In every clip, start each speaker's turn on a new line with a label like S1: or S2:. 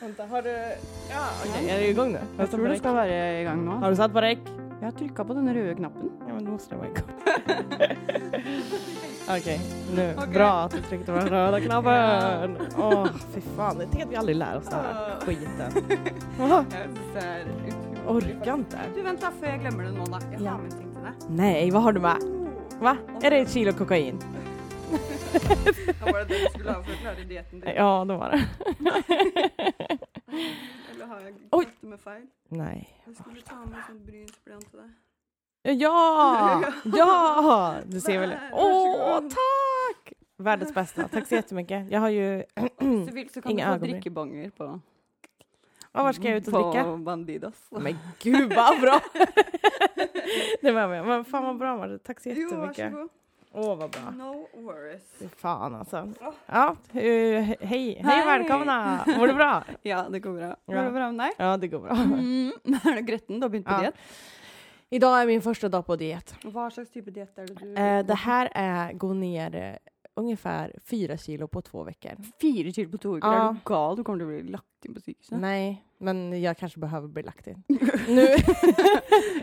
S1: Vänta, har du... Ja, okej, är du igång nu?
S2: Jag tror det skal være i gang nå.
S1: Har du satt på räck?
S2: Jeg har trykka på den røde knappen.
S1: Ja, men då måste jag vara igång. okej, nu. Bra att du tryckte på den röda knappen. Åh, fy fan. Det tänker att vi aldrig lär oss den här
S2: Ah.
S1: skiten. Åh,
S2: Det er utrolig.
S1: orkar inte.
S2: Du, vent da, før jeg glemmer det nå, da. Jeg
S1: Ja.
S2: har med ting til deg.
S1: Nej, vad har du med? Va? Är det ett kilo kokain?
S2: Da var det det du skulle ha for å klare dietten din.
S1: Ja, det var det.
S2: Eller har jeg
S1: Oi.
S2: tatt det med feil?
S1: Nej.
S2: Jeg skulle ta med sånn brynsblyant til deg.
S1: Ja! Ja! Du ser väl?
S2: Där,
S1: Åh,
S2: varsågod.
S1: tack! Världens bästa. Tack så jättemycket. Jag har ju...
S2: Hvis du vil, så kan
S1: Ingen
S2: du få
S1: øyebryn.
S2: drikkebonger på,
S1: Mm. Ja, var ska jag ut och
S2: på
S1: dricka?
S2: Bandidas.
S1: Mm, Men gud vad bra! det var med. Men fan vad bra Marie. Tack så
S2: Jo,
S1: jättemycket.
S2: varsågod.
S1: Åh, vad bra.
S2: No worries.
S1: Fy Fan alltså.
S2: Ja.
S1: Ja, eh, hej. Hej,
S2: Hej.
S1: välkomna! Mår du bra?
S2: Ja, det går bra.
S1: Ja.
S2: Går det bra med deg?
S1: Ja, det går bra.
S2: Mm. Er du gretten? Du har begynt på
S1: Ja.
S2: diett?
S1: Idag är min första dag på diet.
S2: Hva slags typ type diett er det du
S1: Eh, det här är gå ner eh, ungefär fyra kilo på två veckor.
S2: Fire kilo på to uker?
S1: Ja.
S2: Er du gal? Du kommer til å bli lagt inn på sykehuset.
S1: Nej, men jag kanske behöver bli lagt in. nu.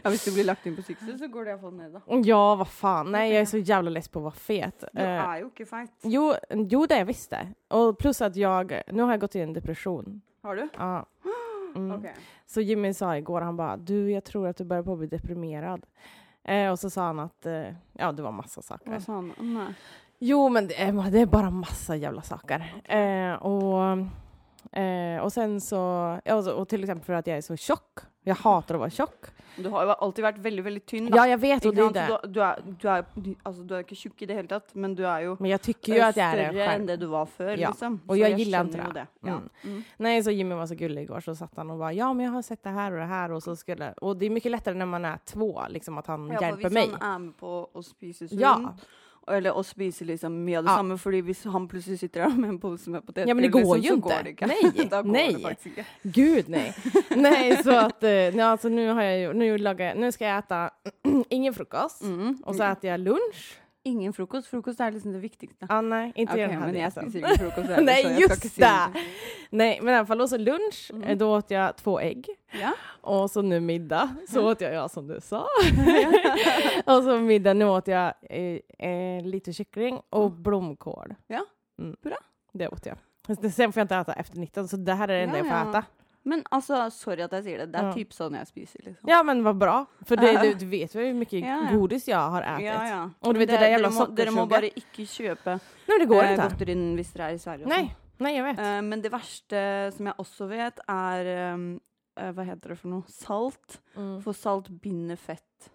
S2: Ja, Hvis du blir lagt inn på sykehuset, så går det iallfall ned, da.
S1: ja, vad fan. Nej, jag är så jävla less på att vara fet.
S2: Du
S1: Eh,
S2: er jo ikke feit.
S1: jo, jo, det är jag visst det. Och plus att jag, nu har jag gått i en depression.
S2: Har du?
S1: Ja. Mm.
S2: Ok.
S1: Så Jimmy sa igår, han bara, du jag tror att du börjar på att bli deprimerad. Eh, och så sa han att, eh, ja det var massa saker.
S2: Hva sa han? Nei.
S1: Jo, men det är, det är bara massa jävla saker. Eh, och, eh, och sen så, ja, och så, och till exempel för att jag är så tjock. Jag hatar att vara tjock.
S2: Du har jo alltid vært veldig, veldig tynn, da.
S1: Ja, jag vet och
S2: Ikke
S1: det är
S2: sant?
S1: det.
S2: Så Du, du, er, du, er, du, altså, du er ikke tjukk i det hele tatt, men du er jo
S1: Men jag tycker ju att jag är en
S2: større enn
S1: själv.
S2: det du var før,
S1: Ja,
S2: liksom.
S1: og
S2: Så
S1: jeg gillar
S2: skjønner
S1: ikke
S2: jo
S1: det.
S2: Ja.
S1: Mm.
S2: Mm.
S1: Nej, så Jimmy var så gullig igår så satt han och bara ja, men jag har sett det här och det här och så skulle och det är mycket lättare när man är två, liksom att han
S2: Ja, for
S1: hjälper
S2: hvis
S1: mig.
S2: han er med på å spise sunt,
S1: Ja.
S2: eller å spise liksom mye av det
S1: Ja.
S2: samme, fordi hvis han plutselig sitter der med en pose med poteter,
S1: Ja, men det går
S2: liksom,
S1: jo
S2: så
S1: ikke.
S2: går det ikke.
S1: Nej,
S2: da går
S1: nej.
S2: det faktisk ikke.
S1: Gud nej. nej, så att eh, nej, alltså, nu har jag ju- nu lagar jag, nu ska jag äta ingen frukost
S2: Mm.
S1: och så äter jag lunch.
S2: Ingen frokost. Frokost er liksom det viktigste.
S1: Ah, nej, inte
S2: Ok,
S1: den här
S2: men jeg
S1: dieten.
S2: spiser ikke frokost. heller,
S1: Nej,
S2: så jeg
S1: just
S2: skal ikke si
S1: det.
S2: noe.
S1: Nej, men i alla fall och så lunch,
S2: Mm.
S1: eh, då åt jag två ägg.
S2: Ja.
S1: Och så nu middag, så
S2: Mm.
S1: åt jag, ja som du sa. och så middag, nu åt jag eh, eh, lite kyckling och blomkål.
S2: Mm. Ja,
S1: Mm.
S2: bra.
S1: Det åt jag. Fast det- Sen får jag inte äta efter 19, så det här är det enda
S2: Ja,
S1: jag får
S2: ja.
S1: äta.
S2: Men altså, sorry at jeg sier det, det er
S1: Ja.
S2: typ sånn jeg spiser, liksom.
S1: Ja men vad bra, för det, du, du vet ju hur mycket
S2: Ja, ja.
S1: godis jag har ätit.
S2: Ja, ja.
S1: Och du vet det,
S2: Men
S1: där jävla
S2: dere, må, dere må
S1: sockersuget.
S2: bare ikke kjøpe
S1: Nej men det går
S2: eh,
S1: inte.
S2: Godterinen hvis dere er i Sverige. og
S1: Nej, nej jag vet.
S2: sånn. Eh, men det verste som jeg også vet, er eh, eh, Hva heter det for noe? Salt.
S1: Mm.
S2: For salt binder fett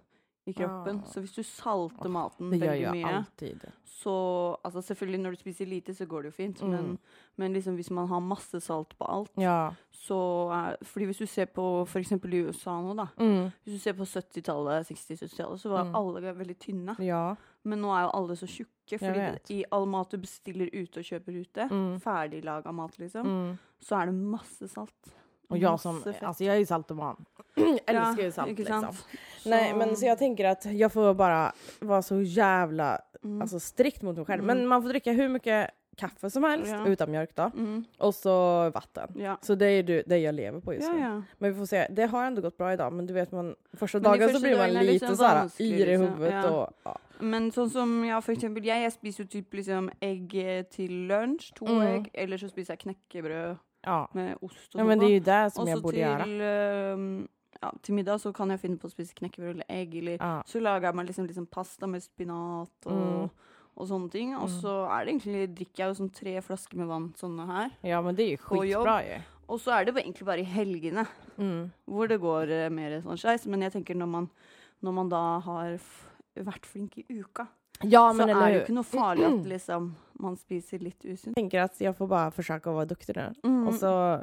S2: i kroppen.
S1: Ah.
S2: Så hvis du salter maten
S1: Det gör
S2: veldig
S1: jag
S2: mye
S1: alltid.
S2: så altså Selvfølgelig, når du spiser lite, så går det jo fint, men,
S1: Mm.
S2: men liksom hvis man har masse salt på alt,
S1: Ja.
S2: så er Fordi hvis du ser på f.eks. i USA nå, da.
S1: Mm.
S2: Hvis du ser på 70-tallet, 60-70-tallet, så var
S1: Mm.
S2: alle veldig tynne.
S1: Ja.
S2: Men nå er jo alle så tjukke, fordi
S1: vet.
S2: det, i all mat du bestiller ute og kjøper ute,
S1: Mm.
S2: ferdiglaga mat, liksom,
S1: Mm.
S2: så er det masse salt.
S1: Och jag som,
S2: Masse fett.
S1: alltså jag är ju saltoman. Älskar ju salt
S2: ikke
S1: liksom.
S2: sant? Så-
S1: Nej men så jag tänker att jag får bara vara så jävla
S2: mm.
S1: alltså, strikt mot mig själv.
S2: Mm.
S1: Men man får dricka hur mycket kaffe som helst,
S2: Ja.
S1: utan mjölk då,
S2: mm.
S1: och så vatten.
S2: Ja.
S1: Så det är ju du- det jag lever på just
S2: Ja,
S1: nu.
S2: ja.
S1: Men vi får se, det har ändå gått bra idag men du vet man, första
S2: Men de
S1: dagen så
S2: första
S1: blir man
S2: dagarna är
S1: lite
S2: liksom
S1: såhär
S2: vansklig,
S1: yr i
S2: liksom.
S1: huvudet
S2: Ja.
S1: och ja.
S2: Men sånn som ja, for eksempel jeg, jeg spiser jo typ liksom egg eh, til lunsj, to
S1: Mm.
S2: egg, eller så spiser jeg knekkebrød
S1: ja.
S2: med ost og
S1: Ja men det är
S2: sånn.
S1: ju det som
S2: Og så
S1: jag borde göra.
S2: til, ehm, ja, til middag så kan jeg finne på å spise knekkebrød eller egg, eller
S1: Ja.
S2: så lager jeg meg liksom, liksom pasta med spinat og,
S1: Mm.
S2: og sånne ting. Og
S1: Mm.
S2: så er det egentlig, drikker jeg jo sånn tre flasker med vann sånne her.
S1: ja men det är ju
S2: Och jobb.
S1: skitbra ju.
S2: Og så er det bare- egentlig bare i helgene
S1: Mm.
S2: hvor det går eh, mer sånn skeis, men jeg tenker når man, når man da har f vært flink i uka,
S1: Ja
S2: så
S1: men
S2: er
S1: eller
S2: det jo
S1: hur.
S2: ikke noe farlig at liksom, man spiser litt usunt.
S1: Jag tänker att jag får bara försöka vara duktig nu.
S2: Mm.
S1: Och, så,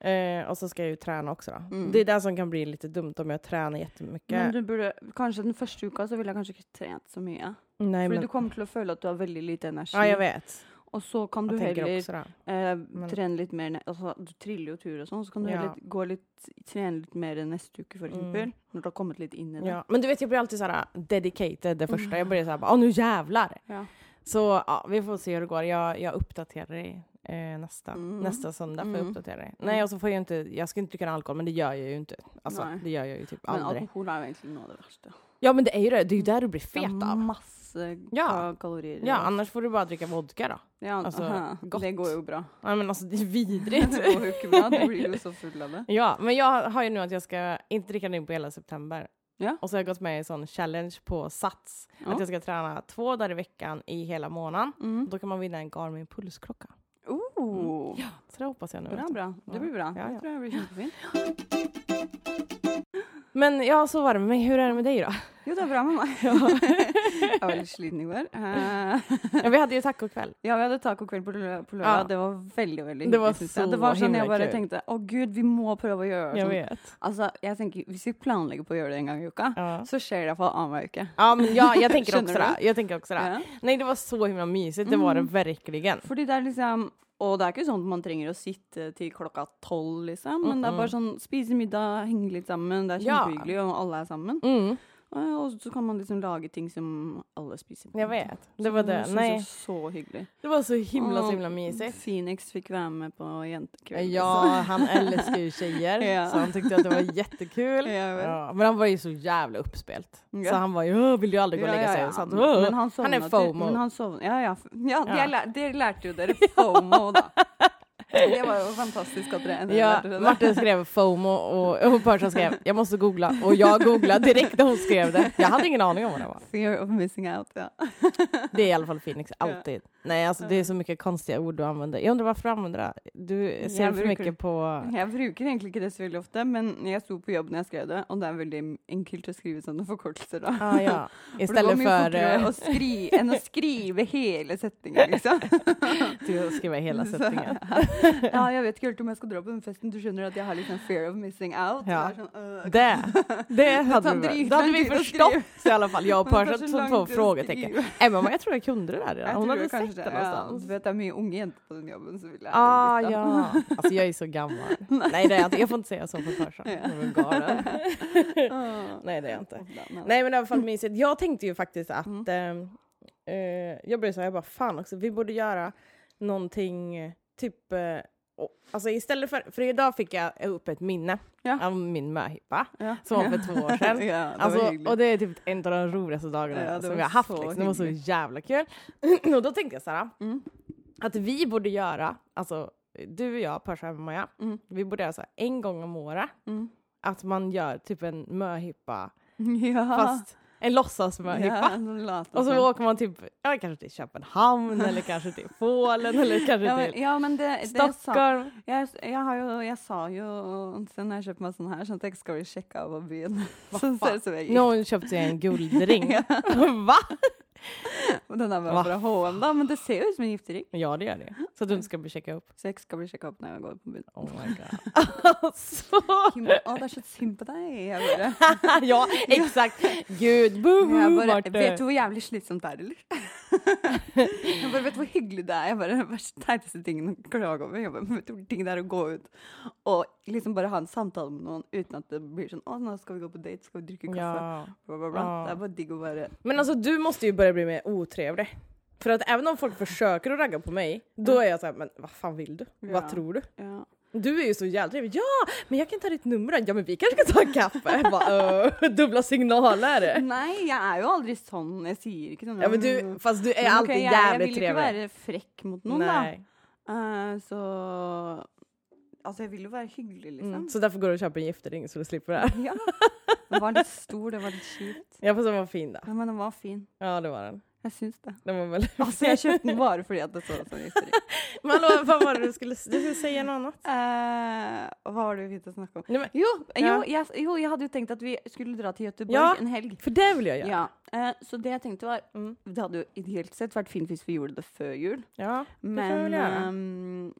S1: eh, och så ska jag ju träna också då.
S2: Mm.
S1: Det är det som kan bli lite dumt om jag tränar jättemycket.
S2: Men du burde, kanskje den første uka så ville jeg kanskje ikke trent så mye.
S1: Nej,
S2: Fordi
S1: men,
S2: du kommer til å føle at du har veldig lite energi.
S1: ja, jag vet.
S2: Og så kan du
S1: Jag tänker
S2: heller
S1: också det.
S2: eh, trene litt mer ne- altså, Du triller jo tur og sånn, så kan du
S1: Ja. Mm.
S2: heller gå litt, trene litt mer neste uke, for eksempel. Når du har kommet litt inn i det.
S1: Ja. Men du vet, jag blir alltid så här uh, dedicated det första. Jag blir så här, bara, "Åh, nu jävlar.
S2: Mm. Ja.
S1: Så ja, vi får se hur det går. Jag, jag uppdaterar dig eh, nästa,
S2: Mm.
S1: nästa söndag får jag
S2: Mm.
S1: uppdatera dig. Nej, och så får jag inte, jag ska inte dricka alkohol, men det gör jag ju inte. Alltså,
S2: Nej.
S1: det gör jag ju typ
S2: Men
S1: aldrig.
S2: alkohol Mm. är jo egentlig noe av det verste.
S1: Ja, men det är ju det. Det är ju där du blir
S2: Det er
S1: fet av.
S2: masse
S1: Ja.
S2: ka- kalorier. i
S1: Ja,
S2: det.
S1: annars alltså, får du bara dricka vodka då.
S2: ja,
S1: altså,
S2: aha,
S1: godt.
S2: Det går jo bra.
S1: Nej, men alltså det är
S2: Det
S1: vidrigt.
S2: går jo ikke bra. Du blir jo så full av det.
S1: Ja, men jag har ju nu att jag ska inte dricka nu på hela september.
S2: Ja.
S1: Och så har jag gått med i en sån challenge på Sats.
S2: Ja.
S1: Att jag ska träna två dagar i veckan i hela månaden.
S2: Mm.
S1: Då kan man vinna en Garmin pulsklocka. Mm.
S2: Oh,
S1: Så det hoppas jag nu.
S2: bra,
S1: vet du.
S2: bra. Det blir bra.
S1: Ja, ja.
S2: Det tror jeg blir kjempefint.
S1: Men ja, så var det med mig. Hur är det med dig då?
S2: Jo, det er bra med meg. jeg var litt sliten i går. Eh,
S1: Ja, vi hade ju tacokväll.
S2: Ja, vi hadde tacokveld på, lø på lørdag.
S1: Ja.
S2: Det var veldig veldig
S1: Det var
S2: synes jeg.
S1: så
S2: Det var sånn jeg
S1: himla
S2: bare
S1: kul.
S2: tenkte å gud, vi må prøve å gjøre
S1: Jag
S2: sånn.
S1: vet.
S2: Altså, jeg tenker, Hvis Alltså, vi planlegger på å gjøre det en gang i uka,
S1: Ja.
S2: så skjer det iallfall annenhver uke.
S1: Ja, men ja, jag tänker
S2: Känner
S1: också det. Jag tänker också det.
S2: Ja.
S1: Nej, det var så himla mysigt. Det var det
S2: Mm.
S1: verkligen.
S2: Fordi det er liksom Og det er ikke sånn at man trenger å sitte til klokka tolv, liksom. Men det er bare sånn spise middag, henge litt sammen. Det er
S1: Ja.
S2: kjempehyggelig, og alle er sammen.
S1: Mm,
S2: Og og så kan man liksom lage ting som alle spiser. på.
S1: jag vet. Det var det.
S2: synes jeg
S1: Nej,
S2: er Mm, så hyggelig.
S1: det var så himla, så
S2: Och
S1: himla mysigt.
S2: Phoenix fikk være med på jentekveld.
S1: Ja, han älskar ju tjejer,
S2: Ja.
S1: så han tyckte att det var jättekul.
S2: Jag vet.
S1: Ja, men han var ju så jävla uppspelt.
S2: Ja.
S1: Så han var ju "Åh, vill ju aldrig gå och lägga sig. Och så han, "Åh."
S2: Men han,
S1: han är
S2: sovnet-
S1: FOMO.
S2: Men han sovnet- ja, ja. F- ja,
S1: Ja.
S2: Det, lär, det lärde ju dere FOMO, da. Det var jo fantastisk at dere endelig
S1: ja,
S2: lærte det.
S1: Martin skrev FOMO och, och Persa skrev jag måste googla. Och jag googlade direkt när hon skrev det. Jag hade ingen aning om vad det var.
S2: Fear of missing out, ja.
S1: Det är i alla fall Phoenix, alltid. Nej, alltså det är så mycket konstiga ord du använder. Jag undrar varför du använder det. Du ser
S2: Jag
S1: för
S2: brukar-
S1: mycket på...
S2: Jeg bruker egentlig ikke det så veldig ofte, men jeg sto på jobb når jeg skrev det, og det er veldig enkelt å skrive sånne forkortelser da.
S1: Ah, ja.
S2: For det går
S1: Istället
S2: mye
S1: för
S2: fortere
S1: eh,
S2: å skri enn å skrive hele setningen, liksom.
S1: att skriva Typ hela
S2: Så-
S1: sättningen.
S2: Ja, jeg vet ikke helt om jeg skal dra på den festen. Du skjønner at jeg har litt sånn fear of missing out.
S1: Ja.
S2: Det er sånn, øh,
S1: Det, det hade,
S2: tar
S1: vi,
S2: drygt
S1: det hade
S2: lång
S1: vi
S2: tid att
S1: förstått
S2: skriva.
S1: i alla fall. Jag och
S2: Det tar
S1: Persa
S2: så
S1: som
S2: lång
S1: två
S2: tid att
S1: frågetecken.
S2: skriva.
S1: Emma bara, jag tror jag kunde det där
S2: Jeg
S1: redan. Hon
S2: tror
S1: hade
S2: jeg
S1: sett
S2: kanskje
S1: det
S2: det. Ja, du
S1: någonstans.
S2: vet, det er mye unge jenter på den jobben, så vil jeg
S1: Ah,
S2: litt, da.
S1: ja. Alltså jag är så gammal. Nej, det är jag inte. Jag får inte säga så för Persa. Hon är galen.
S2: Ah.
S1: Nej, det är jag inte.
S2: Da, men-
S1: Nej, men i alla fall mysigt. Jag tänkte ju faktiskt att...
S2: Mm.
S1: eh, eh, jag blev så här, jag bara fan också, vi borde göra någonting eh, typ... Eh, och, alltså istället för... För idag fick jag upp ett minne
S2: Ja.
S1: av min möhippa
S2: Ja.
S1: som var för två år sedan.
S2: Ja, det var
S1: Alltså,
S2: hyggelig.
S1: och det är typ en av de roligaste dagarna
S2: Ja, det
S1: som
S2: var
S1: jag har haft.
S2: så
S1: Liksom. Det var så
S2: hyggligt.
S1: jävla kul. och då tänkte jag så här, att vi borde göra, alltså du och jag, Persa och Maja,
S2: Mm.
S1: vi borde göra så här, en gång om året,
S2: Mm.
S1: att man gör typ en möhippa,
S2: Ja.
S1: fast en låtsas-möhippa.
S2: Ja, sånn late
S1: Och
S2: som.
S1: så åker man typ, ja, kanske till Köpenhamn eller kanske till Polen eller
S2: ja,
S1: kanske
S2: men,
S1: till
S2: ja, men det, det jeg sa-
S1: Stockholm.
S2: Jeg, jeg, har jo, jeg sa jo sen jeg kjøpte meg sånn her, sånn at jeg ikke skal bli sjekka av på byen. Sånn ser det ut som jeg
S1: Nu har hon köpt sig en guldring. Va?
S2: Og Den er
S1: Hva
S2: bare fra HM, da, men det ser jo ut som en giftering.
S1: Ja, det gör det. Så att du inte ska bli checkad upp.
S2: Så jeg ikke skal bli sjekka opp når jeg går på byen.
S1: Oh my god. Alltså.
S2: Kim, å, det er så synd på deg! Jeg bare,
S1: ja, exakt. Gud, boho,
S2: jeg bare
S1: Marte.
S2: Vet du hvor jævlig slitsomt det er, eller? jeg bare vet du hvor hyggelig det er. Jeg bare, Det verste teiteste tingen å klage over. Jeg bare, vet du hvor ting det er å gå ut og liksom bare ha en samtale med noen uten at det blir sånn Å, nå skal vi gå på date, skal vi drikke kaffe?
S1: Ja.
S2: Bla, bla, bla.
S1: Ja.
S2: Det er bare digg å bare
S1: Men alltså du måste ju börja bli mer otrevlig. För att även om folk försöker att ragga på mig, då är jag såhär, men vad fan vill du? Vad
S2: Ja.
S1: tror du?
S2: ja.
S1: Du är ju så jävla trevlig. Ja, men jag kan ta ditt nummer då. Ja, men vi kanske kan ta en kaffe. Jag Bara, "Öh, dubbla signaler.
S2: Nei, jeg er jo aldri sånn. Jeg sier ikke sånn.
S1: Ja, Mm. men du, fast du är
S2: Men ok,
S1: alltid
S2: jeg, jeg
S1: jävligt
S2: vil ikke
S1: trevlig.
S2: være frekk mot noen,
S1: Nej.
S2: da. Eh, så Alltså, Altså, jeg vil jo være hyggelig, liksom.
S1: Mm. Så därför går du och köper en giftering så du slipper det här.
S2: Ja. Den var litt stor, det var litt kjipt.
S1: Ja, fast den var fin då.
S2: Ja, men den var fin.
S1: Ja, det var den.
S2: Jeg syns det.
S1: Den var väldigt
S2: Altså, jeg kjøpte den bare fordi at det så ut som gifteri.
S1: Men hallå, vad var det du skulle, du skulle säga något annat?
S2: Eh, og hva var det vi begynte å snakke om?
S1: Nej, men,
S2: Jo, eh, jo,
S1: Ja.
S2: jeg, jo, jeg hadde jo tenkt at vi skulle dra til Göteborg
S1: Ja.
S2: en helg.
S1: för det vill jag
S2: Ja.
S1: göra.
S2: Eh, så det jeg tenkte var
S1: Mm.
S2: Det hadde jo ideelt sett vært fint hvis vi gjorde det før jul.
S1: Ja. jeg vel
S2: Men,
S1: gjøre.
S2: ehm,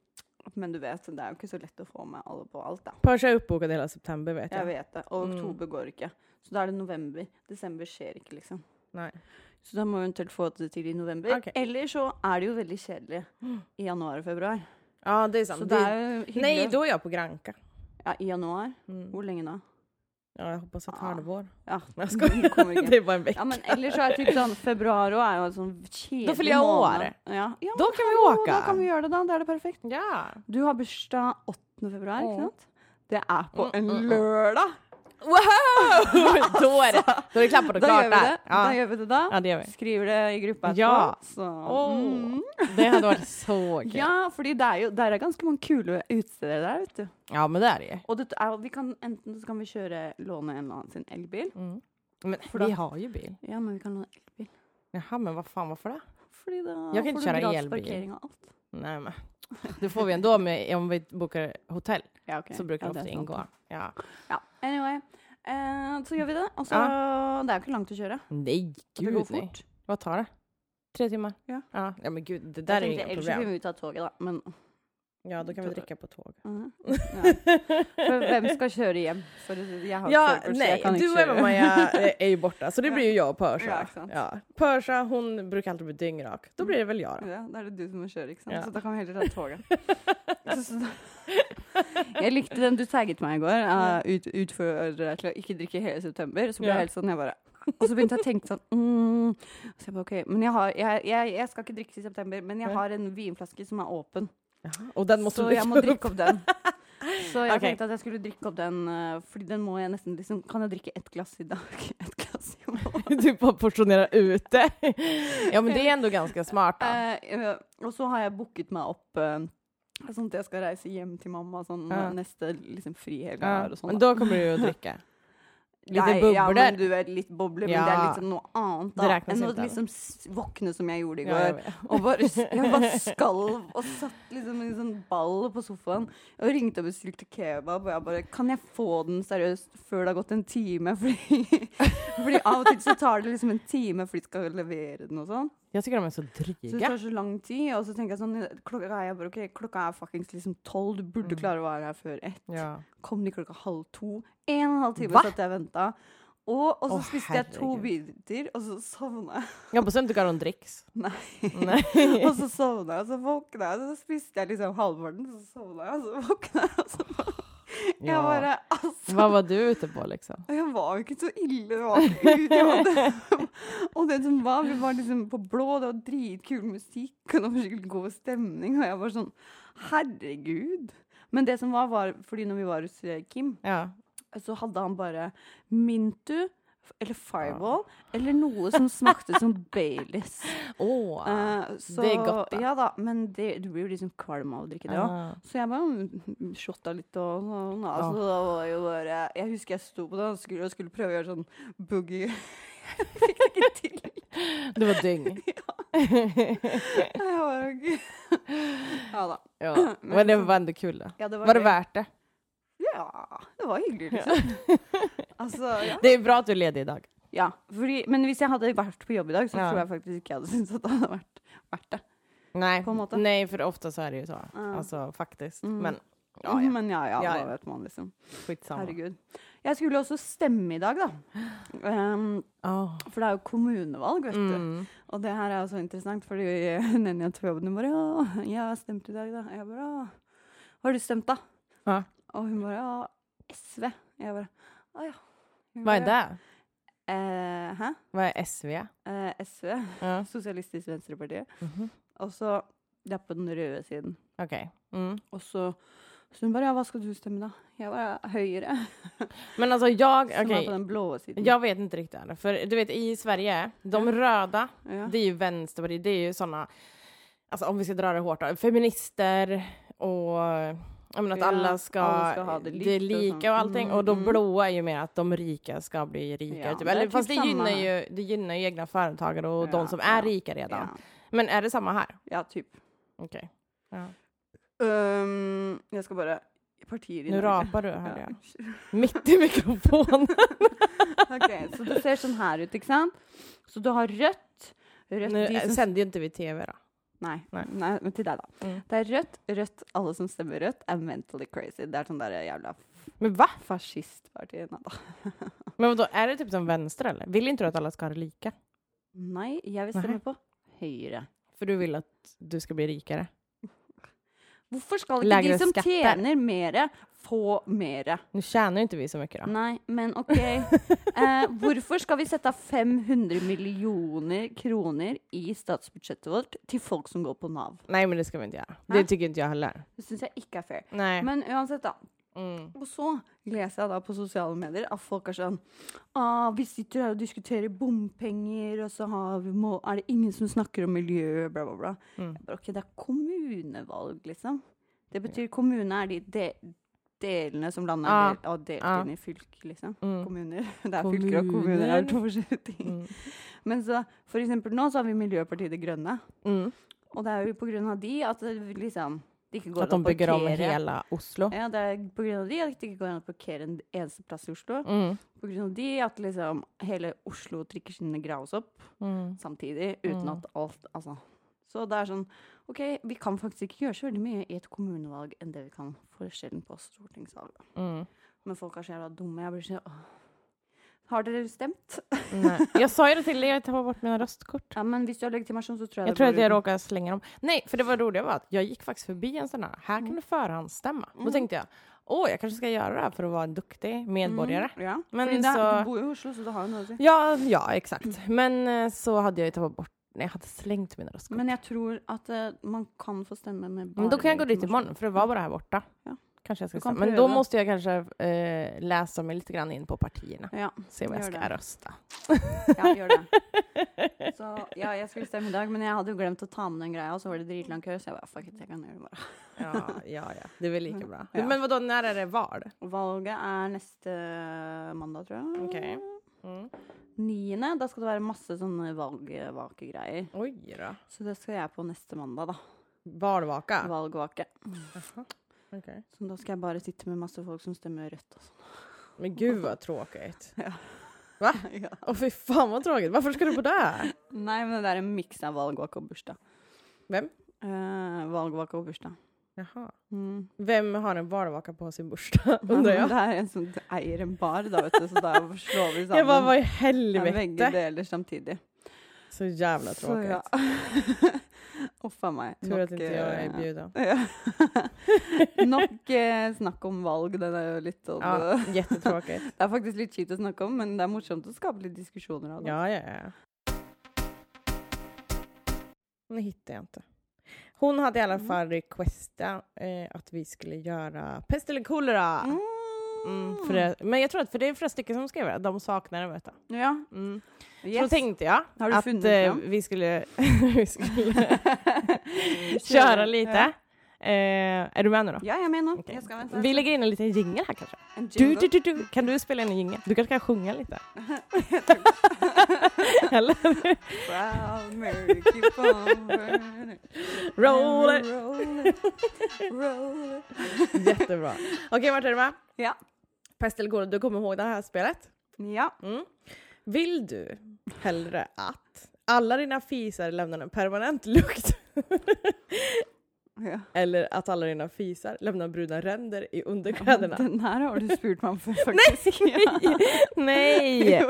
S2: men du vet, det er jo ikke så lett å få med alle på alt, da.
S1: Persa är uppbokad hela september vet jag. Mm.
S2: Jeg vet det. Og oktober går ikke. Så da er det november. Desember skjer ikke, liksom.
S1: Nej.
S2: Så da må vi eventuelt få det til i november.
S1: Ok.
S2: Eller så er det jo veldig kjedelig i januar og februar.
S1: Ja, det är sant.
S2: Så
S1: Det
S2: det
S1: är...
S2: er jo hyggelig.
S1: Nej, då är jag på Granka.
S2: Ja, i januar. Hvor lenge da?
S1: Ja, jag hoppas ett
S2: Ja.
S1: halvår.
S2: Ja, Mm,
S1: Men jag skojar.
S2: kommer igen.
S1: det är bara en vecka.
S2: Ja men eller så är typ sån februari och är en sån kedlig
S1: Då fyller jag
S2: månad.
S1: år.
S2: Ja. ja
S1: Då kan vi
S2: men
S1: åka.
S2: Då kan vi göra det då, det är det perfekt.
S1: Ja!
S2: Du har bursdag 8 februari,
S1: Ja.
S2: ikke sant? Det är på
S1: Mm,
S2: en
S1: mm, mm.
S2: lördag.
S1: Wow! då är det, då är det klappat och
S2: Då
S1: klart
S2: gör vi
S1: där.
S2: det.
S1: Ja.
S2: Då gör vi det då.
S1: ja, det gör vi.
S2: Skriver det i gruppen
S1: Ja.
S2: etterpå, Så.
S1: Åh,
S2: mm.
S1: Det hade varit så kul. Ja,
S2: Ja, fordi det er jo, der er ganske mange kule utsteder der, vet du.
S1: men det är det ju.
S2: Og det er, vi kan, enten så kan vi kjøre låne en eller annen sin elbil.
S1: Mm. Men
S2: För då-
S1: vi har ju bil.
S2: Ja, men vi kan låne elbil.
S1: Jaha, men vad fan varför det?
S2: Fordi da
S1: Jeg kan ikke kjøre elbil.
S2: parkering og alt.
S1: Nej men. Det får vi ändå med, om vi bokar hotell.
S2: Ja, ok.
S1: Så brukar
S2: ja,
S1: det ofta
S2: er sant.
S1: ingå. Ja.
S2: Ja, anyway. Eh, så gjør vi det. Og så Det er jo ikke langt å kjøre.
S1: Nej,
S2: det
S1: gud
S2: går
S1: nej.
S2: fort.
S1: Vad tar det? Tre timmar?
S2: Ja.
S1: Ja, ja men gud, det där
S2: Jeg
S1: är ju inga
S2: tenkte, ellers så
S1: problem.
S2: kunne vi ta toget, da. Men
S1: Ja, då kan vi dricka på tåg.
S2: Mhm. ja. For hvem skal kjøre hjem? For jeg har
S1: Ja,
S2: körkort, så jeg
S1: nej,
S2: kan
S1: du
S2: ikke
S1: och
S2: kjøre.
S1: Eva-Maja eh, är ju borta, så det blir ju jag och
S2: Ja,
S1: Pörsa.
S2: exakt.
S1: Ja, Pörsa, hon brukar alltid bli dyngrak. Då blir det väl jag då.
S2: Ja, da er det du som må kjøre, ikke sant?
S1: Ja.
S2: Så da kan vi heller ta toget. Så- så da- jeg likte den du tagget meg i går, uh, ut, utfordrer deg til å ikke drikke hele september. Så ble
S1: Ja.
S2: jeg helt sånn, jeg bare Og så begynte jeg å tenke sånn mm. Så jeg bare OK, men jeg, har, jeg, jeg, jeg skal ikke drikke i september, men jeg
S1: Nei.
S2: har en vinflaske som er åpen.
S1: Jaha, Och den måste
S2: så
S1: du
S2: jeg
S1: dricka
S2: må
S1: upp.
S2: drikke opp den. Så jeg
S1: Ok.
S2: tenkte at jeg skulle drikke opp den, eh, Fordi den må jeg nesten liksom Kan jeg drikke ett glass i dag? Ett glass i morgen?
S1: typ bara portionera ut det. Ja men det är ändå ganska smart. Då.
S2: Eh, eh, og så har jeg booket meg opp eh, sånn at jeg skal reise hjem til mamma sånn,
S1: Ja.
S2: neste liksom, frihelg.
S1: Ja,
S2: her og sånn,
S1: men
S2: da.
S1: då kommer du ju att dricka. Lite
S2: Nei,
S1: bubblor.
S2: Ja, men du vet, litt bobler, men det er
S1: Ja.
S2: liksom noe annet
S1: Det
S2: da,
S1: regnes
S2: enn å
S1: ikke, da.
S2: liksom s- våkne som jeg gjorde i
S1: Ja, jag
S2: går.
S1: vet.
S2: og bare, s- jeg bare skalv og satt liksom i en sånn ball på sofaen og ringte og bestilte kebab. Og jeg bare Kan jeg få den seriøst før det har gått en time? Fordi, fordi av og til så tar det liksom en time, for de skal levere den og sånn.
S1: Jag tycker de är så
S2: Så det
S1: dryga.
S2: tar så lang tid, og så tenker jeg sånn Klokka er, jeg bare, ok, klokka er fuckings liksom tolv, du burde klare å være her før ett.
S1: Mm. Ja.
S2: Kom de klokka halv to? En og en halv time
S1: Hva?
S2: satt jeg og venta. Og, og så
S1: Å,
S2: spiste jeg to biter, og så sovna jeg.
S1: Jag hoppas du inte gav dem dricks. Nej.
S2: Og så sovna jeg, og så våkna jeg, og så spiste jeg liksom halvparten, så sovna jeg, og så våkna jeg, og så alltså. bare, Jeg
S1: Ja.
S2: bare Altså.
S1: Vad var du ute på liksom?
S2: Og jeg var jo ikke så ille. Det var Gud, jeg hadde. og det som var, vi var liksom på blå, det var dritkul musikk, og det var skikkelig god stemning. Og jeg var sånn Herregud. Men det som var, var fordi når vi var hos eh, Kim,
S1: Ja.
S2: så hadde han bare Mintu eller Fireball eller noe som smakte som Baileys.
S1: Åh.
S2: Eh, så-
S1: det er godt, da.
S2: Ja da, men det, du blir jo liksom kvalm av å drikke det òg.
S1: Ah.
S2: Så jeg bare mm, shotta litt og sånn. Altså,
S1: Ja.
S2: da Alltså, var jo bare, jeg husker jeg sto på det og skulle, og skulle prøve å gjøre sånn boogie. Fikk det ikke til.
S1: Det var dyng.
S2: Jeg var jo Ja da.
S1: Ja. Men det var ändå kul då.
S2: Ja, det liksom, var,
S1: Var det värt det?
S2: Ja, det var hyggelig, liksom. Altså, ja.
S1: Det är bra att du är ledig idag.
S2: ja fordi, men hvis jeg hadde vært på jobb i dag, så
S1: Ja.
S2: tror jeg faktisk ikke jeg hadde syntes at det hadde vært verdt det.
S1: Nej.
S2: På en måte.
S1: Nej, för ofta så är det ju så.
S2: Ja.
S1: Alltså faktiskt.
S2: Mm.
S1: Men ja, ja.
S2: Men ja, ja,
S1: Ja,
S2: hva
S1: ja.
S2: vet man, liksom.
S1: skitsamma.
S2: Herregud. Jeg skulle også stemme i dag, da. Ehm,
S1: Oh.
S2: for det er jo kommunevalg, vet du.
S1: Mm.
S2: Og det her er jo så interessant, fordi Nenja jeg på jobben hun bare Ja, jeg har stemt i dag, da. Jeg bare «Å, Hva har du stemt, da?
S1: Ja.
S2: Og hun bare Ja, SV. Jeg bare Å "Ah, ja. Hun
S1: Vad är
S2: bare,
S1: det?
S2: Eh, hæ?
S1: Vad er SV?
S2: Eh, SV.
S1: Ja.
S2: Sosialistisk Venstreparti.
S1: Mhm.
S2: Og så Det er på den røde siden.
S1: Okej. Mm.
S2: Og så Så hun bare Ja, hva skal du stemme, da? Jeg bare Høyre.
S1: Men alltså jag,
S2: Som
S1: okej,
S2: er på den blå siden.
S1: jag vet inte riktigt. än. För du vet i Sverige, de röda,
S2: Ja.
S1: det är ju vänsterpartiet, det är ju sådana, alltså om vi ska dra det hårt då, feminister och jag menar att
S2: Ja,
S1: alla ska,
S2: alla ska ha det likt och sånt.
S1: lika och allting.
S2: Mm,
S1: och de
S2: mm.
S1: blåa är ju mer att de rika ska bli rikare.
S2: Ja,
S1: typ.
S2: det är
S1: Eller,
S2: typ
S1: fast det
S2: samma
S1: gynnar,
S2: här.
S1: ju, det gynnar ju egna företagare och
S2: Ja,
S1: de som är
S2: ja,
S1: rika redan.
S2: ja.
S1: Men är det samma här?
S2: ja, typ.
S1: Okej. Ja.
S2: Øhm, jeg skal bare Partier i
S1: Nu
S2: Norge.
S1: rapar du, hörde
S2: Ja,
S1: jag.
S2: unnskyld.
S1: Mitt i mikrofonen.
S2: Ok, Så det ser sånn her ut, ikke sant? Så du har rødt Rødt de
S1: Nu eh,
S2: som
S1: sänder ju inte vi tv då.
S2: Nei,
S1: Nei.
S2: nei. men til deg, da.
S1: Mm.
S2: Det er rødt. Rødt, alle som stemmer rødt, er mentally crazy. Det er sånn der jævla
S1: Men va?
S2: fascistparti. Nei da.
S1: Men vadå, är det typ som vänster eller? Vill inte du att alla ska ha det lika?
S2: Nei, jeg vil stemme på Høyre.
S1: För du vill att du ska bli rikare?
S2: Hvorfor skal ikke
S1: Lägre
S2: de som
S1: skatter.
S2: tjener mere, få mere?
S1: Nu tjänar ju inte vi så mycket då.
S2: Nei, men OK. Eh, hvorfor skal vi sette av 500 millioner kroner i statsbudsjettet vårt til folk som går på Nav?
S1: Nej men det ska vi inte göra.
S2: Nej.
S1: Det tycker inte jag heller.
S2: Det syns jeg ikke er fair.
S1: Ah. Nej.
S2: Men uansett, da.
S1: Mm.
S2: Og så leser jeg da på sosiale medier at folk er sånn ah, Vi sitter her og diskuterer bompenger, og så har vi må, er det ingen som snakker om miljø, bla, bla, bla.
S1: Mm.
S2: Jeg bare, OK, det er kommunevalg, liksom. Det betyr kommune er de de delene som landet
S1: Ja.
S2: er del, og delt
S1: Ja.
S2: inn i fylk, liksom.
S1: Ah. Mm.
S2: Kommuner. Det er fylker og kommuner er to forskjellige ting.
S1: Mm.
S2: Men så, for eksempel nå så har vi Miljøpartiet De Grønne.
S1: Mm.
S2: Og det er jo på grunn av de at det liksom det ikke går
S1: Att de
S2: an å
S1: bygger om
S2: parkere.
S1: hela Oslo.
S2: Ja, det er Eh, på grunn av de at det ikke går an å parkere en eneste plass i Oslo.
S1: Mm.
S2: På grunn av de at liksom hele Oslo trykker sine graves opp
S1: Mm.
S2: samtidig, uten
S1: Mm.
S2: at alt Altså. alltså. Så det er sånn OK, vi kan faktisk ikke gjøre så veldig mye i et kommunevalg enn det vi kan forskjellen på stortingsvalg.
S1: Mm.
S2: Men folk er så jævla dumme. Jeg blir sånn åh. Har dere stemt?
S1: Nej. Jag sa ju det till dig, jag tar bort mina röstkort.
S2: Ja, men hvis du har legitimasjon, så tror jeg
S1: Jag
S2: det
S1: tror att
S2: går
S1: jag
S2: ut.
S1: råkade slänga dem. Nej, för det var roliga var att jag gick faktiskt förbi en sån här. Här kan du förhandsstämma. Då tänkte jag, åh, jag kanskje ska göra det här för att vara en duktig medborgare.
S2: Mm, Ja,
S1: Men
S2: fordi det,
S1: så-
S2: du bor jo i Oslo, så det har jo noe å si.
S1: Ja, ja, exakt. Men eh, så hade jag ju tagit bort, nej, jag hade slängt mina röstkort. Men,
S2: Men jag tror at eh, man kan få stemme med
S1: då kan jag gå dit
S2: legitimasjon.
S1: imorgon, för det var bara här borta.
S2: Ja.
S1: Kanske jag ska
S2: Du kan
S1: säga. Men då
S2: pröva.
S1: måste jag kanske eh, läsa mig lite grann in på partierna.
S2: Ja.
S1: Se vad jag
S2: Gör
S1: ska
S2: det.
S1: rösta.
S2: Ja, gjør det. Så, ja, jeg skulle stemme i dag, men jeg hadde jo glemt å ta med den greia, og så var det dritlang kø, så jeg bare fuck it, jeg kan gjøre det bare.
S1: Ja, ja, ja. Det är väl lika bra.
S2: Ja.
S1: Men vadå, när är det val?
S2: Valget er neste mandag, tror jeg.
S1: Okej. Mm.
S2: Niende. Da skal det være masse sånne valgvakegreier.
S1: Oj då.
S2: Så det skal jeg på neste mandag, da.
S1: Valvaka?
S2: Valgvake.
S1: Okej.
S2: Så da skal jeg bare sitte med masse folk som alltså. stemmer rødt og sånn.
S1: Men gud vad tråkigt.
S2: Ja.
S1: Åh fy fan vad tråkigt. Varför ska du på det?
S2: Nei, men det er en miks av valgvake og bursdag.
S1: Vem?
S2: Eh, valgvake og bursdag.
S1: Jaha.
S2: Mm.
S1: Vem har en valvaka på sin bursdag?
S2: Nei,
S1: Undrar
S2: men
S1: jag.
S2: Det er en som eier en bar, da, vet du, så da slår vi sammen.
S1: Jag bara, vad i
S2: Ja, Begge
S1: helvete?
S2: deler samtidig.
S1: Så jävla tråkigt.
S2: Så ja. Uff a meg.
S1: Tur att
S2: Nok,
S1: inte jag är
S2: eh,
S1: bjuden.
S2: ja. Nok eh, snakk om valg. Den er jo litt sånn
S1: Ja,
S2: eh,
S1: jättetråkigt.
S2: Det er faktisk litt kjipt å snakke om, men det er morsomt å skape litt diskusjoner av det.
S1: Ja, ja, ja. Nu hittar jag inte. Hon hade i alla
S2: Mm.
S1: fall requestat eh, att vi skulle göra pest eller kolera.
S2: Mm.
S1: Mm, för det, men jag tror att för det är flera stycken som skrev det, de saknar det. Vet du.
S2: Ja,
S1: Mm. Så då
S2: yes.
S1: tänkte jag
S2: Har du
S1: att
S2: funnit
S1: eh,
S2: dem?
S1: vi skulle, vi skulle köra lite.
S2: Ja,
S1: Eh, är du med nu då?
S2: ja jeg er med nå.
S1: Okej.
S2: Jeg skal vente.
S1: Vi lägger in en liten jingel här kanske.
S2: En
S1: Du,
S2: jingle.
S1: du, du, du. Kan du spela in en jingel? Du kanske kan sjunga lite? Eller?
S2: Proud Mary, keep on burning.
S1: Roll it.
S2: Roll it. Roll it.
S1: Jättebra. Okej, Martin, är du med?
S2: Mm. Ja.
S1: Pest eller kolera, du kommer ihåg det här spelet?
S2: Ja.
S1: Mm. Vill du hellre att alla dina fisar lämnar en permanent lukt
S2: ja.
S1: eller att alla dina fisar lämnar bruna ränder i underkläderna?
S2: Den her har du spurt meg om før, faktisk.
S1: Nej!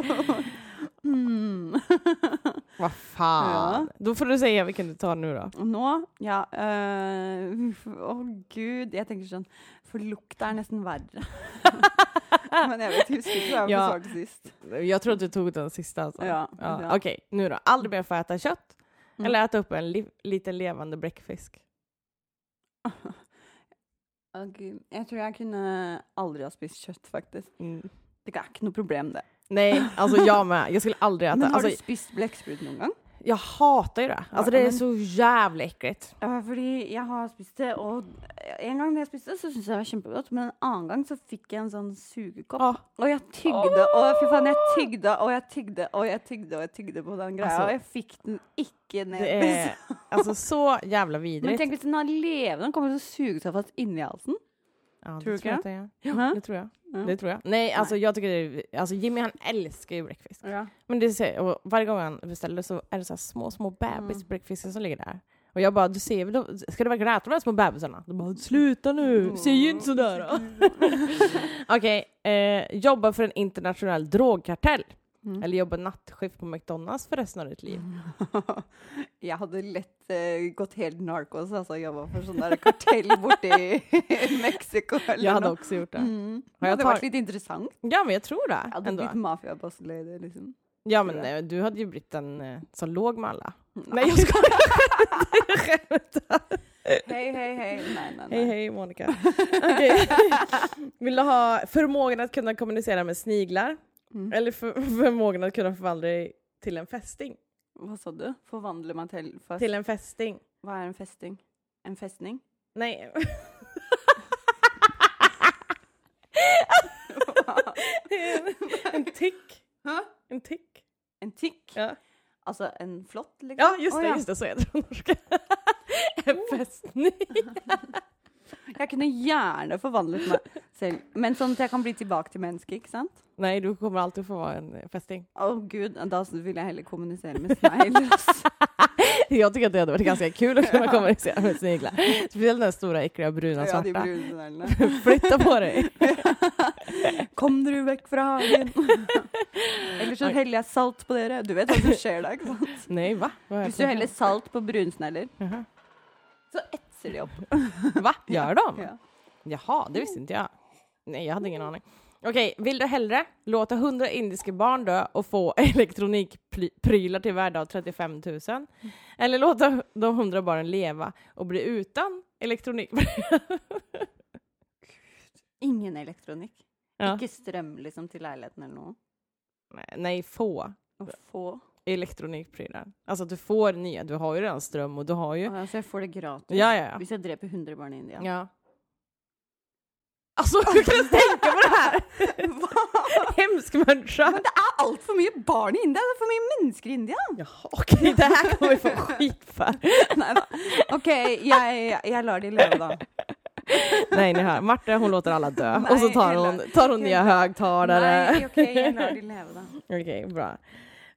S2: Mm.
S1: Vad fan. Då får du säga vilken du tar nu då.
S2: Og Nå, ja øh, Å gud, jeg tenker sånn For lukta er nesten verre. Men jeg vet, husker ikke hva jeg
S1: Ja.
S2: besvarte sist.
S1: Jag tror att du tog den sista alltså.
S2: Ja,
S1: Ja.
S2: ja.
S1: Okej, nu då. Aldrig mer få äta kött
S2: Mm.
S1: eller äta upp en li- liten levande bläckfisk.
S2: Å Gud, jeg tror jeg kunne aldri ha spist kjøtt, faktisk.
S1: Mm.
S2: Det er ikke noe problem, det.
S1: Nej, alltså jag med. Jag skulle aldrig
S2: Men
S1: äta.
S2: har
S1: Alltså,
S2: du spist blekksprut noen gang?
S1: jag hatar ju det. Alltså det är
S2: men-
S1: så jävla äckligt.
S2: Ja, fordi jeg har spist det, og en gang da jeg spiste det, så syntes jeg det var kjempegodt. Men en annen gang så fikk jeg en sånn sugekopp.
S1: Åh.
S2: Og jeg tygde, og fy faen, jeg tygde, og jeg tygde, og jeg tygde, og jeg tygde på den greia.
S1: Altså,
S2: og jeg fikk den ikke ned.
S1: Alltså, Det är alltså så jävla vidrigt.
S2: Men tenk hvis den har levende, den kommer til å suge seg fast inni halsen.
S1: ja,
S2: Tror du
S1: det tror jag.
S2: inte?
S1: att det är.
S2: Ja.
S1: Det tror jag.
S2: Ja.
S1: Det tror jag. Nej, alltså jag tycker det är, alltså Jimmy han älskar ju bläckfisk.
S2: Ja.
S1: Men det ser, och varje gång han beställer så är det så här små, små
S2: Mm.
S1: bebisbläckfiskar som ligger där. Och jag bara, du ser väl, de- ska du verkligen äta de här små bebisarna? De bara, sluta nu,
S2: Mm.
S1: säg ju inte sådär. då." Okej, eh, jobba för en internationell drogkartell.
S2: Mm.
S1: Eller jobba nattskift på McDonalds för resten av ditt liv.
S2: jag hade lätt eh, gått helt narkos, alltså jag var för sån där kartell borta i Mexiko eller
S1: Jag hade
S2: något.
S1: också gjort det.
S2: Mm.
S1: Har
S2: Det
S1: jag
S2: hade varit
S1: tagit-
S2: lite intressant.
S1: Ja men jag tror det
S2: Jag hade
S1: ändå.
S2: blivit maffiabossledare liksom.
S1: Ja men
S2: tror jag.
S1: eh, du hade ju blivit den eh, som låg med alla.
S2: Nej.
S1: Nej jag skojar! Jag skämtar.
S2: Hej, hej, hej. Nej, nej, nej.
S1: Hej hej Monica. Okej. Vill du ha förmågan att kunna kommunicera med sniglar?
S2: Mm.
S1: Eller för, förmågan att kunna förvandla dig till en fästing?
S2: Vad sa du? Förvandlar man till, fast,
S1: Till en fästing.
S2: Vad är en fästing? En fästning?
S1: Nej. en, en tick.
S2: Hä?
S1: En tick.
S2: En tick?
S1: Ja.
S2: Alltså en flott liksom?
S1: Ja, just
S2: Åh,
S1: det, just det, så är det på norska. En fästning.
S2: Jag kunne gjerne forvandlet meg selv, men sånn at jeg kan bli tilbake til mennesket, ikke sant?
S1: Nej, du kommer alltid få vara en eh, fästing.
S2: Å gud, da vil jeg heller kommunisere med alltså. snegler. ass.
S1: Jag tycker att det hade varit ganska kul att kunna kommunicera med sniglar. Speciellt den stora äckliga bruna
S2: Ja, de
S1: svarta.
S2: brune sneglene.
S1: Flytta på dig!
S2: Kom dere vekk fra hagen! Eller så heller jeg salt på dere. Du vet hva som skjer da, ikke sant?
S1: Nej, va? Vad har jag
S2: Hvis du
S1: för-
S2: heller salt på brunsnegler,
S1: Jaha.
S2: så etser de opp.
S1: Va? Gör de?
S2: Ja.
S1: Jaha, det visste inte jag. Nej, jeg hade ingen aning. Okej, vill du hellre låta 100 indiska barn dö och få elektronikprylar till värde av 35 000?
S2: Mm.
S1: Eller låta de 100 barnen leva och bli utan elektronikprylar?
S2: Ingen elektronikk.
S1: Ja.
S2: Ikke strøm liksom til leiligheten eller noe.
S1: Nej, få
S2: Og få.
S1: elektronikprylar. Alltså att du får nya, du har ju redan ström och du har ju...
S2: Ja, så jeg får det gratis.
S1: Ja, ja, ja.
S2: Hvis jeg dreper 100 barn i India.
S1: ja. Alltså, hur kan du tänka på det här? Hemsk människa!
S2: Men det er altfor mye barn i India! Det er for mye mennesker i India!
S1: Jaha, okej, det här kommer vi få skit för.
S2: Nei da. OK, jeg, jeg lar de leve, da.
S1: Nej, ni hör. Marta hon låter alla dö och så
S2: Nej,
S1: tar
S2: Ella.
S1: hon, tar hon nya högtalare.
S2: Nei, OK, jeg lar de leve, da.
S1: Okej, bra.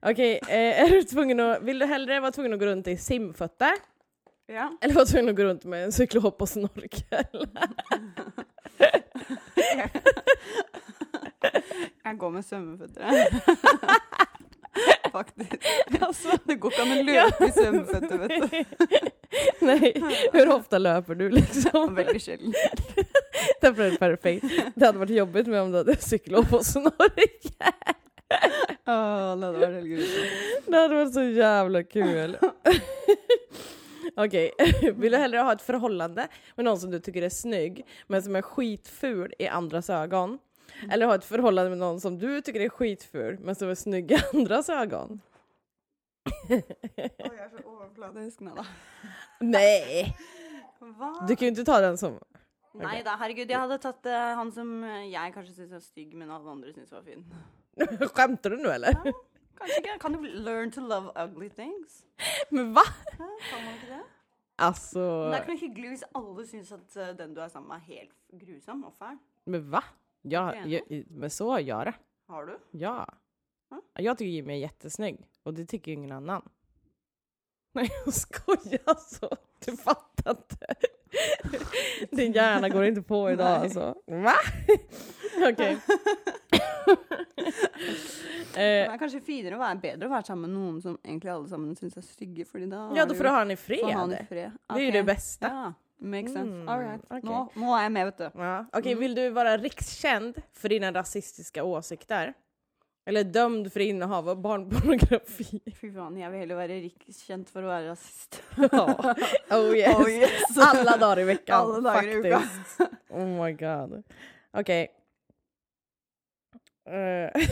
S1: Okej, eh, är du tvungen att, vill du hellre vara tvungen att gå runt i simfötter
S2: Ja.
S1: eller vara tvungen att gå runt med en cyklop och snorkel?
S2: Jeg går med svømmeføtter. Faktisk.
S1: Alltså,
S2: Det går ikke an å løpe i svømmeføtter, vet du.
S1: nej, hur ofta löper du liksom?
S2: Veldig sjelden.
S1: Därför är det perfekt. Det hade varit jobbigt med om du hade cyklop och snorkel.
S2: Åh, det hadde vært helt grusomt.
S1: Det hade varit så jävla kul. Okej, vill du hellre ha ett förhållande med någon som du tycker är snygg men som är skitful i andras ögon? Eller ha ett förhållande med någon som du tycker är skitful men som är snygg i andras ögon?
S2: Å, jeg er så overfladisk nå, da.
S1: Nej!
S2: Hva?
S1: Du kan ju inte ta den som...
S2: Nei da, herregud. Jeg hadde tatt eh, han som eh, jeg kanskje syns var stygg, men alle andre syns var fin.
S1: Skämtar du nu eller?
S2: Kanskje ikke. Kan du learn to love ugly things?
S1: Men va?
S2: Hæ? Kan man ikke det? Men
S1: Alltså,
S2: det er ikke noe hyggelig hvis alle syns at eh, den du er sammen med, er helt grusom og fæl.
S1: men va? Ja, jag, men så gör jag det.
S2: Har
S1: Eh,
S2: du?
S1: Ja.
S2: Mm.
S1: Jag tycker Jimmy är jättesnygg och det tycker ju ingen annan. Nej jag skojar alltså. Du fattar inte. Din hjärna går inte på idag
S2: Nej.
S1: alltså. Va? Okej.
S2: Det
S1: eh,
S2: er kanskje finere å være bedre å være sammen med noen som egentlig alle sammen syns er stygge, fordi da
S1: ja
S2: er
S1: då
S2: det
S1: får
S2: jo-
S1: du ha den i fred.
S2: får han i fred.
S1: Det är ju
S2: Ok.
S1: det bästa. Ja.
S2: Ja, makes sense.
S1: Mm,
S2: All right.
S1: ok.
S2: Nå, nå er jeg med, vet du.
S1: Okej, vill du vara rikskänd för dina rasistiska åsikter? Eller dömd för innehav av barnpornografi?
S2: Fy faen, jeg vil heller være rikskjent for å være rasist.
S1: Ja. Oh yes.
S2: Oh, yes.
S1: Alla dagar i veckan.
S2: Alla dagar i veckan.
S1: faktiskt. Oh my god. Okej. Eh,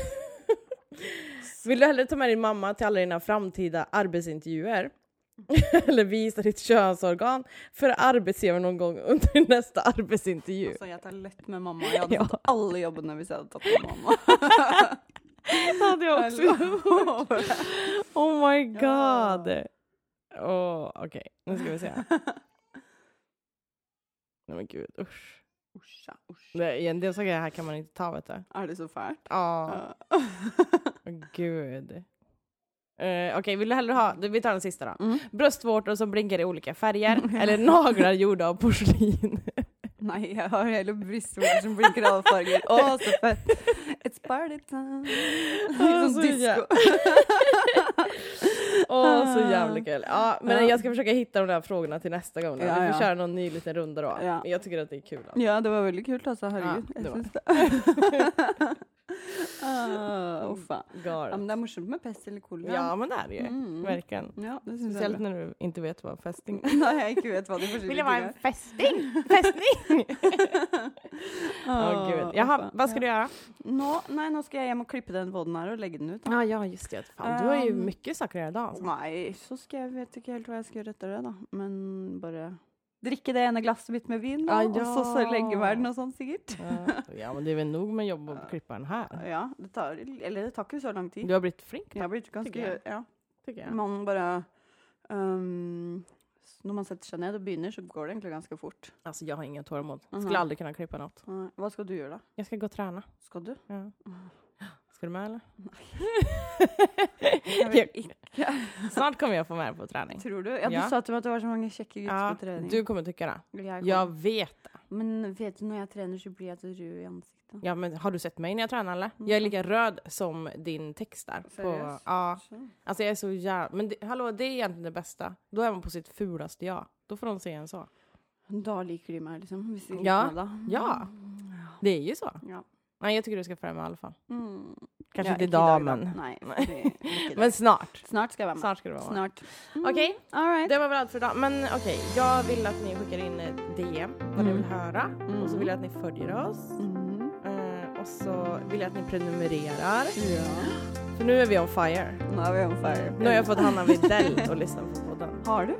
S1: Vill du hellre ta med din mamma till alla dina framtida arbetsintervjuer? Eller visa ditt könsorgan för arbetsgivaren någon gång under nästa arbetsintervju?
S2: Så jeg tar lett med mamma. Jeg hadde
S1: Ja.
S2: fått alle jobbene hvis jeg hadde tatt med mamma. Alltså,
S1: Det hade jag Alltså, Oh my
S2: Ja.
S1: god. Åh, Okej, nu ska vi se. Nej men gud usch.
S2: Usja, usja.
S1: Det, en del saker här kan man inte ta vet du.
S2: Er det så fælt?
S1: Ja. Åh, Gud. Eh, Okej, vill du hellre ha... Vi tar den sista då.
S2: Mm.
S1: Bröstvårtor som blinkar i olika färger eller naglar gjorda av porslin.
S2: Nei, jeg har hele brystvorter som blinker alle farger. Å, så fett! It's party time! Litt
S1: så
S2: sånn disko.
S1: Åh, så jävla kul. Ja, men
S2: Ja.
S1: jag ska försöka hitta de där frågorna till nästa gång. Då. vi
S2: Ja,
S1: får
S2: ja.
S1: köra någon ny liten runda då.
S2: Ja.
S1: Men jag tycker att det är kul. Alltså.
S2: Ja, det var veldig kult, altså. Herregud.
S1: Ja, det
S2: jeg
S1: var
S2: syns det. Ah, Uff a. Ja,
S1: Galet.
S2: men det er morsomt med pest eller kolera.
S1: Mm. Ja, men det är det ju.
S2: Mm.
S1: Verkligen.
S2: Ja, det syns jeg. er
S1: Speciellt
S2: bra.
S1: när du inte vet vad fästing är.
S2: Nei, jeg ikke vet hva de forskjellige tingene er.
S1: fästing? Fästning? Åh,
S2: Ah,
S1: gud.
S2: uff
S1: Jaha,
S2: a.
S1: vad ska du göra?
S2: Ja. Nå, nei, nå skal jeg hjem og klippe den vodden her og legge den ut. Da.
S1: Ja, ja, just det. Fan, du har ju
S2: Ehm.
S1: mycket saker att göra idag. Alltså.
S2: Nei, så skal jeg vet ikke helt hva jeg skal gjøre etter det, da. Men bare drikke det ene glasset mitt med vin, da.
S1: Ah,
S2: Og så, så
S1: ja.
S2: legge meg den og sånn, sikkert.
S1: Ja. ja, men det är väl nog med jobb att klippa den här.
S2: Ja, det tar, eller det tar ikke så lang tid.
S1: Du har blivit flink,
S2: Jeg har blitt ganske
S1: jeg.
S2: ja.
S1: tycker jag.
S2: Man bare øhm, s- Når man setter seg ned og begynner, så går det egentlig ganske fort.
S1: Alltså, jag har ingen tålamod.
S2: Mhm.
S1: Skulle aldrig kunna klippa något.
S2: Nei, Hva skal du gjøre, da?
S1: Jag ska gå och träna.
S2: Skal du?
S1: Ja. Ska du med eller?
S2: Jeg vet ikke.
S1: Snart kommer jag få med dig på träning.
S2: Tror du? Ja, du
S1: Ja.
S2: sa til meg at det var så mange kjekke gutter
S1: Ja,
S2: på trening.
S1: du kommer tycka det.
S2: Jeg
S1: Jag
S2: kommer-
S1: vet det.
S2: Men vet du, når jeg trener, så blir jeg så rød i ansiktet.
S1: Ja, men har du sett mig när jag tränar eller? Jag är lika röd som din text där. På,
S2: Mm. Seriöst?
S1: ja,
S2: Så.
S1: alltså jag är så jävla... Men det, hallå, det är egentligen det bästa. Då är man på sitt fulaste jag. Då får de se en så.
S2: Da liker de meg, liksom. Hvis de liker
S1: Ja.
S2: meg da.
S1: Ja, det är ju så.
S2: Ja.
S1: Nej, jag tycker du ska följa med i alla fall.
S2: Mm.
S1: Kanske
S2: Ja,
S1: inte
S2: i dag,
S1: idag,
S2: da.
S1: men...
S2: Nei. fordi- ikke i dag.
S1: Men snart.
S2: Snart skal jeg være med.
S1: Snart ska du vara med.
S2: Snart.
S1: Okej,
S2: All right.
S1: det var väl allt för idag. Men okej, jag vill att ni skickar in ett DM vad ni
S2: Mm.
S1: vill höra. Och så vill jag att ni följer oss.
S2: Mhm.
S1: Eh, och så vill jag att ni prenumererar.
S2: Ja.
S1: För nu är vi on fire.
S2: Nå er vi on fire.
S1: Nu har jag fått Hanna Widell att lyssna på podden.
S2: Har du?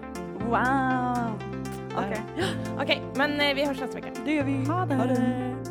S2: Wow!
S1: Okej, men eh, vi hörs nästa vecka.
S2: Det gör vi.
S1: Ha det!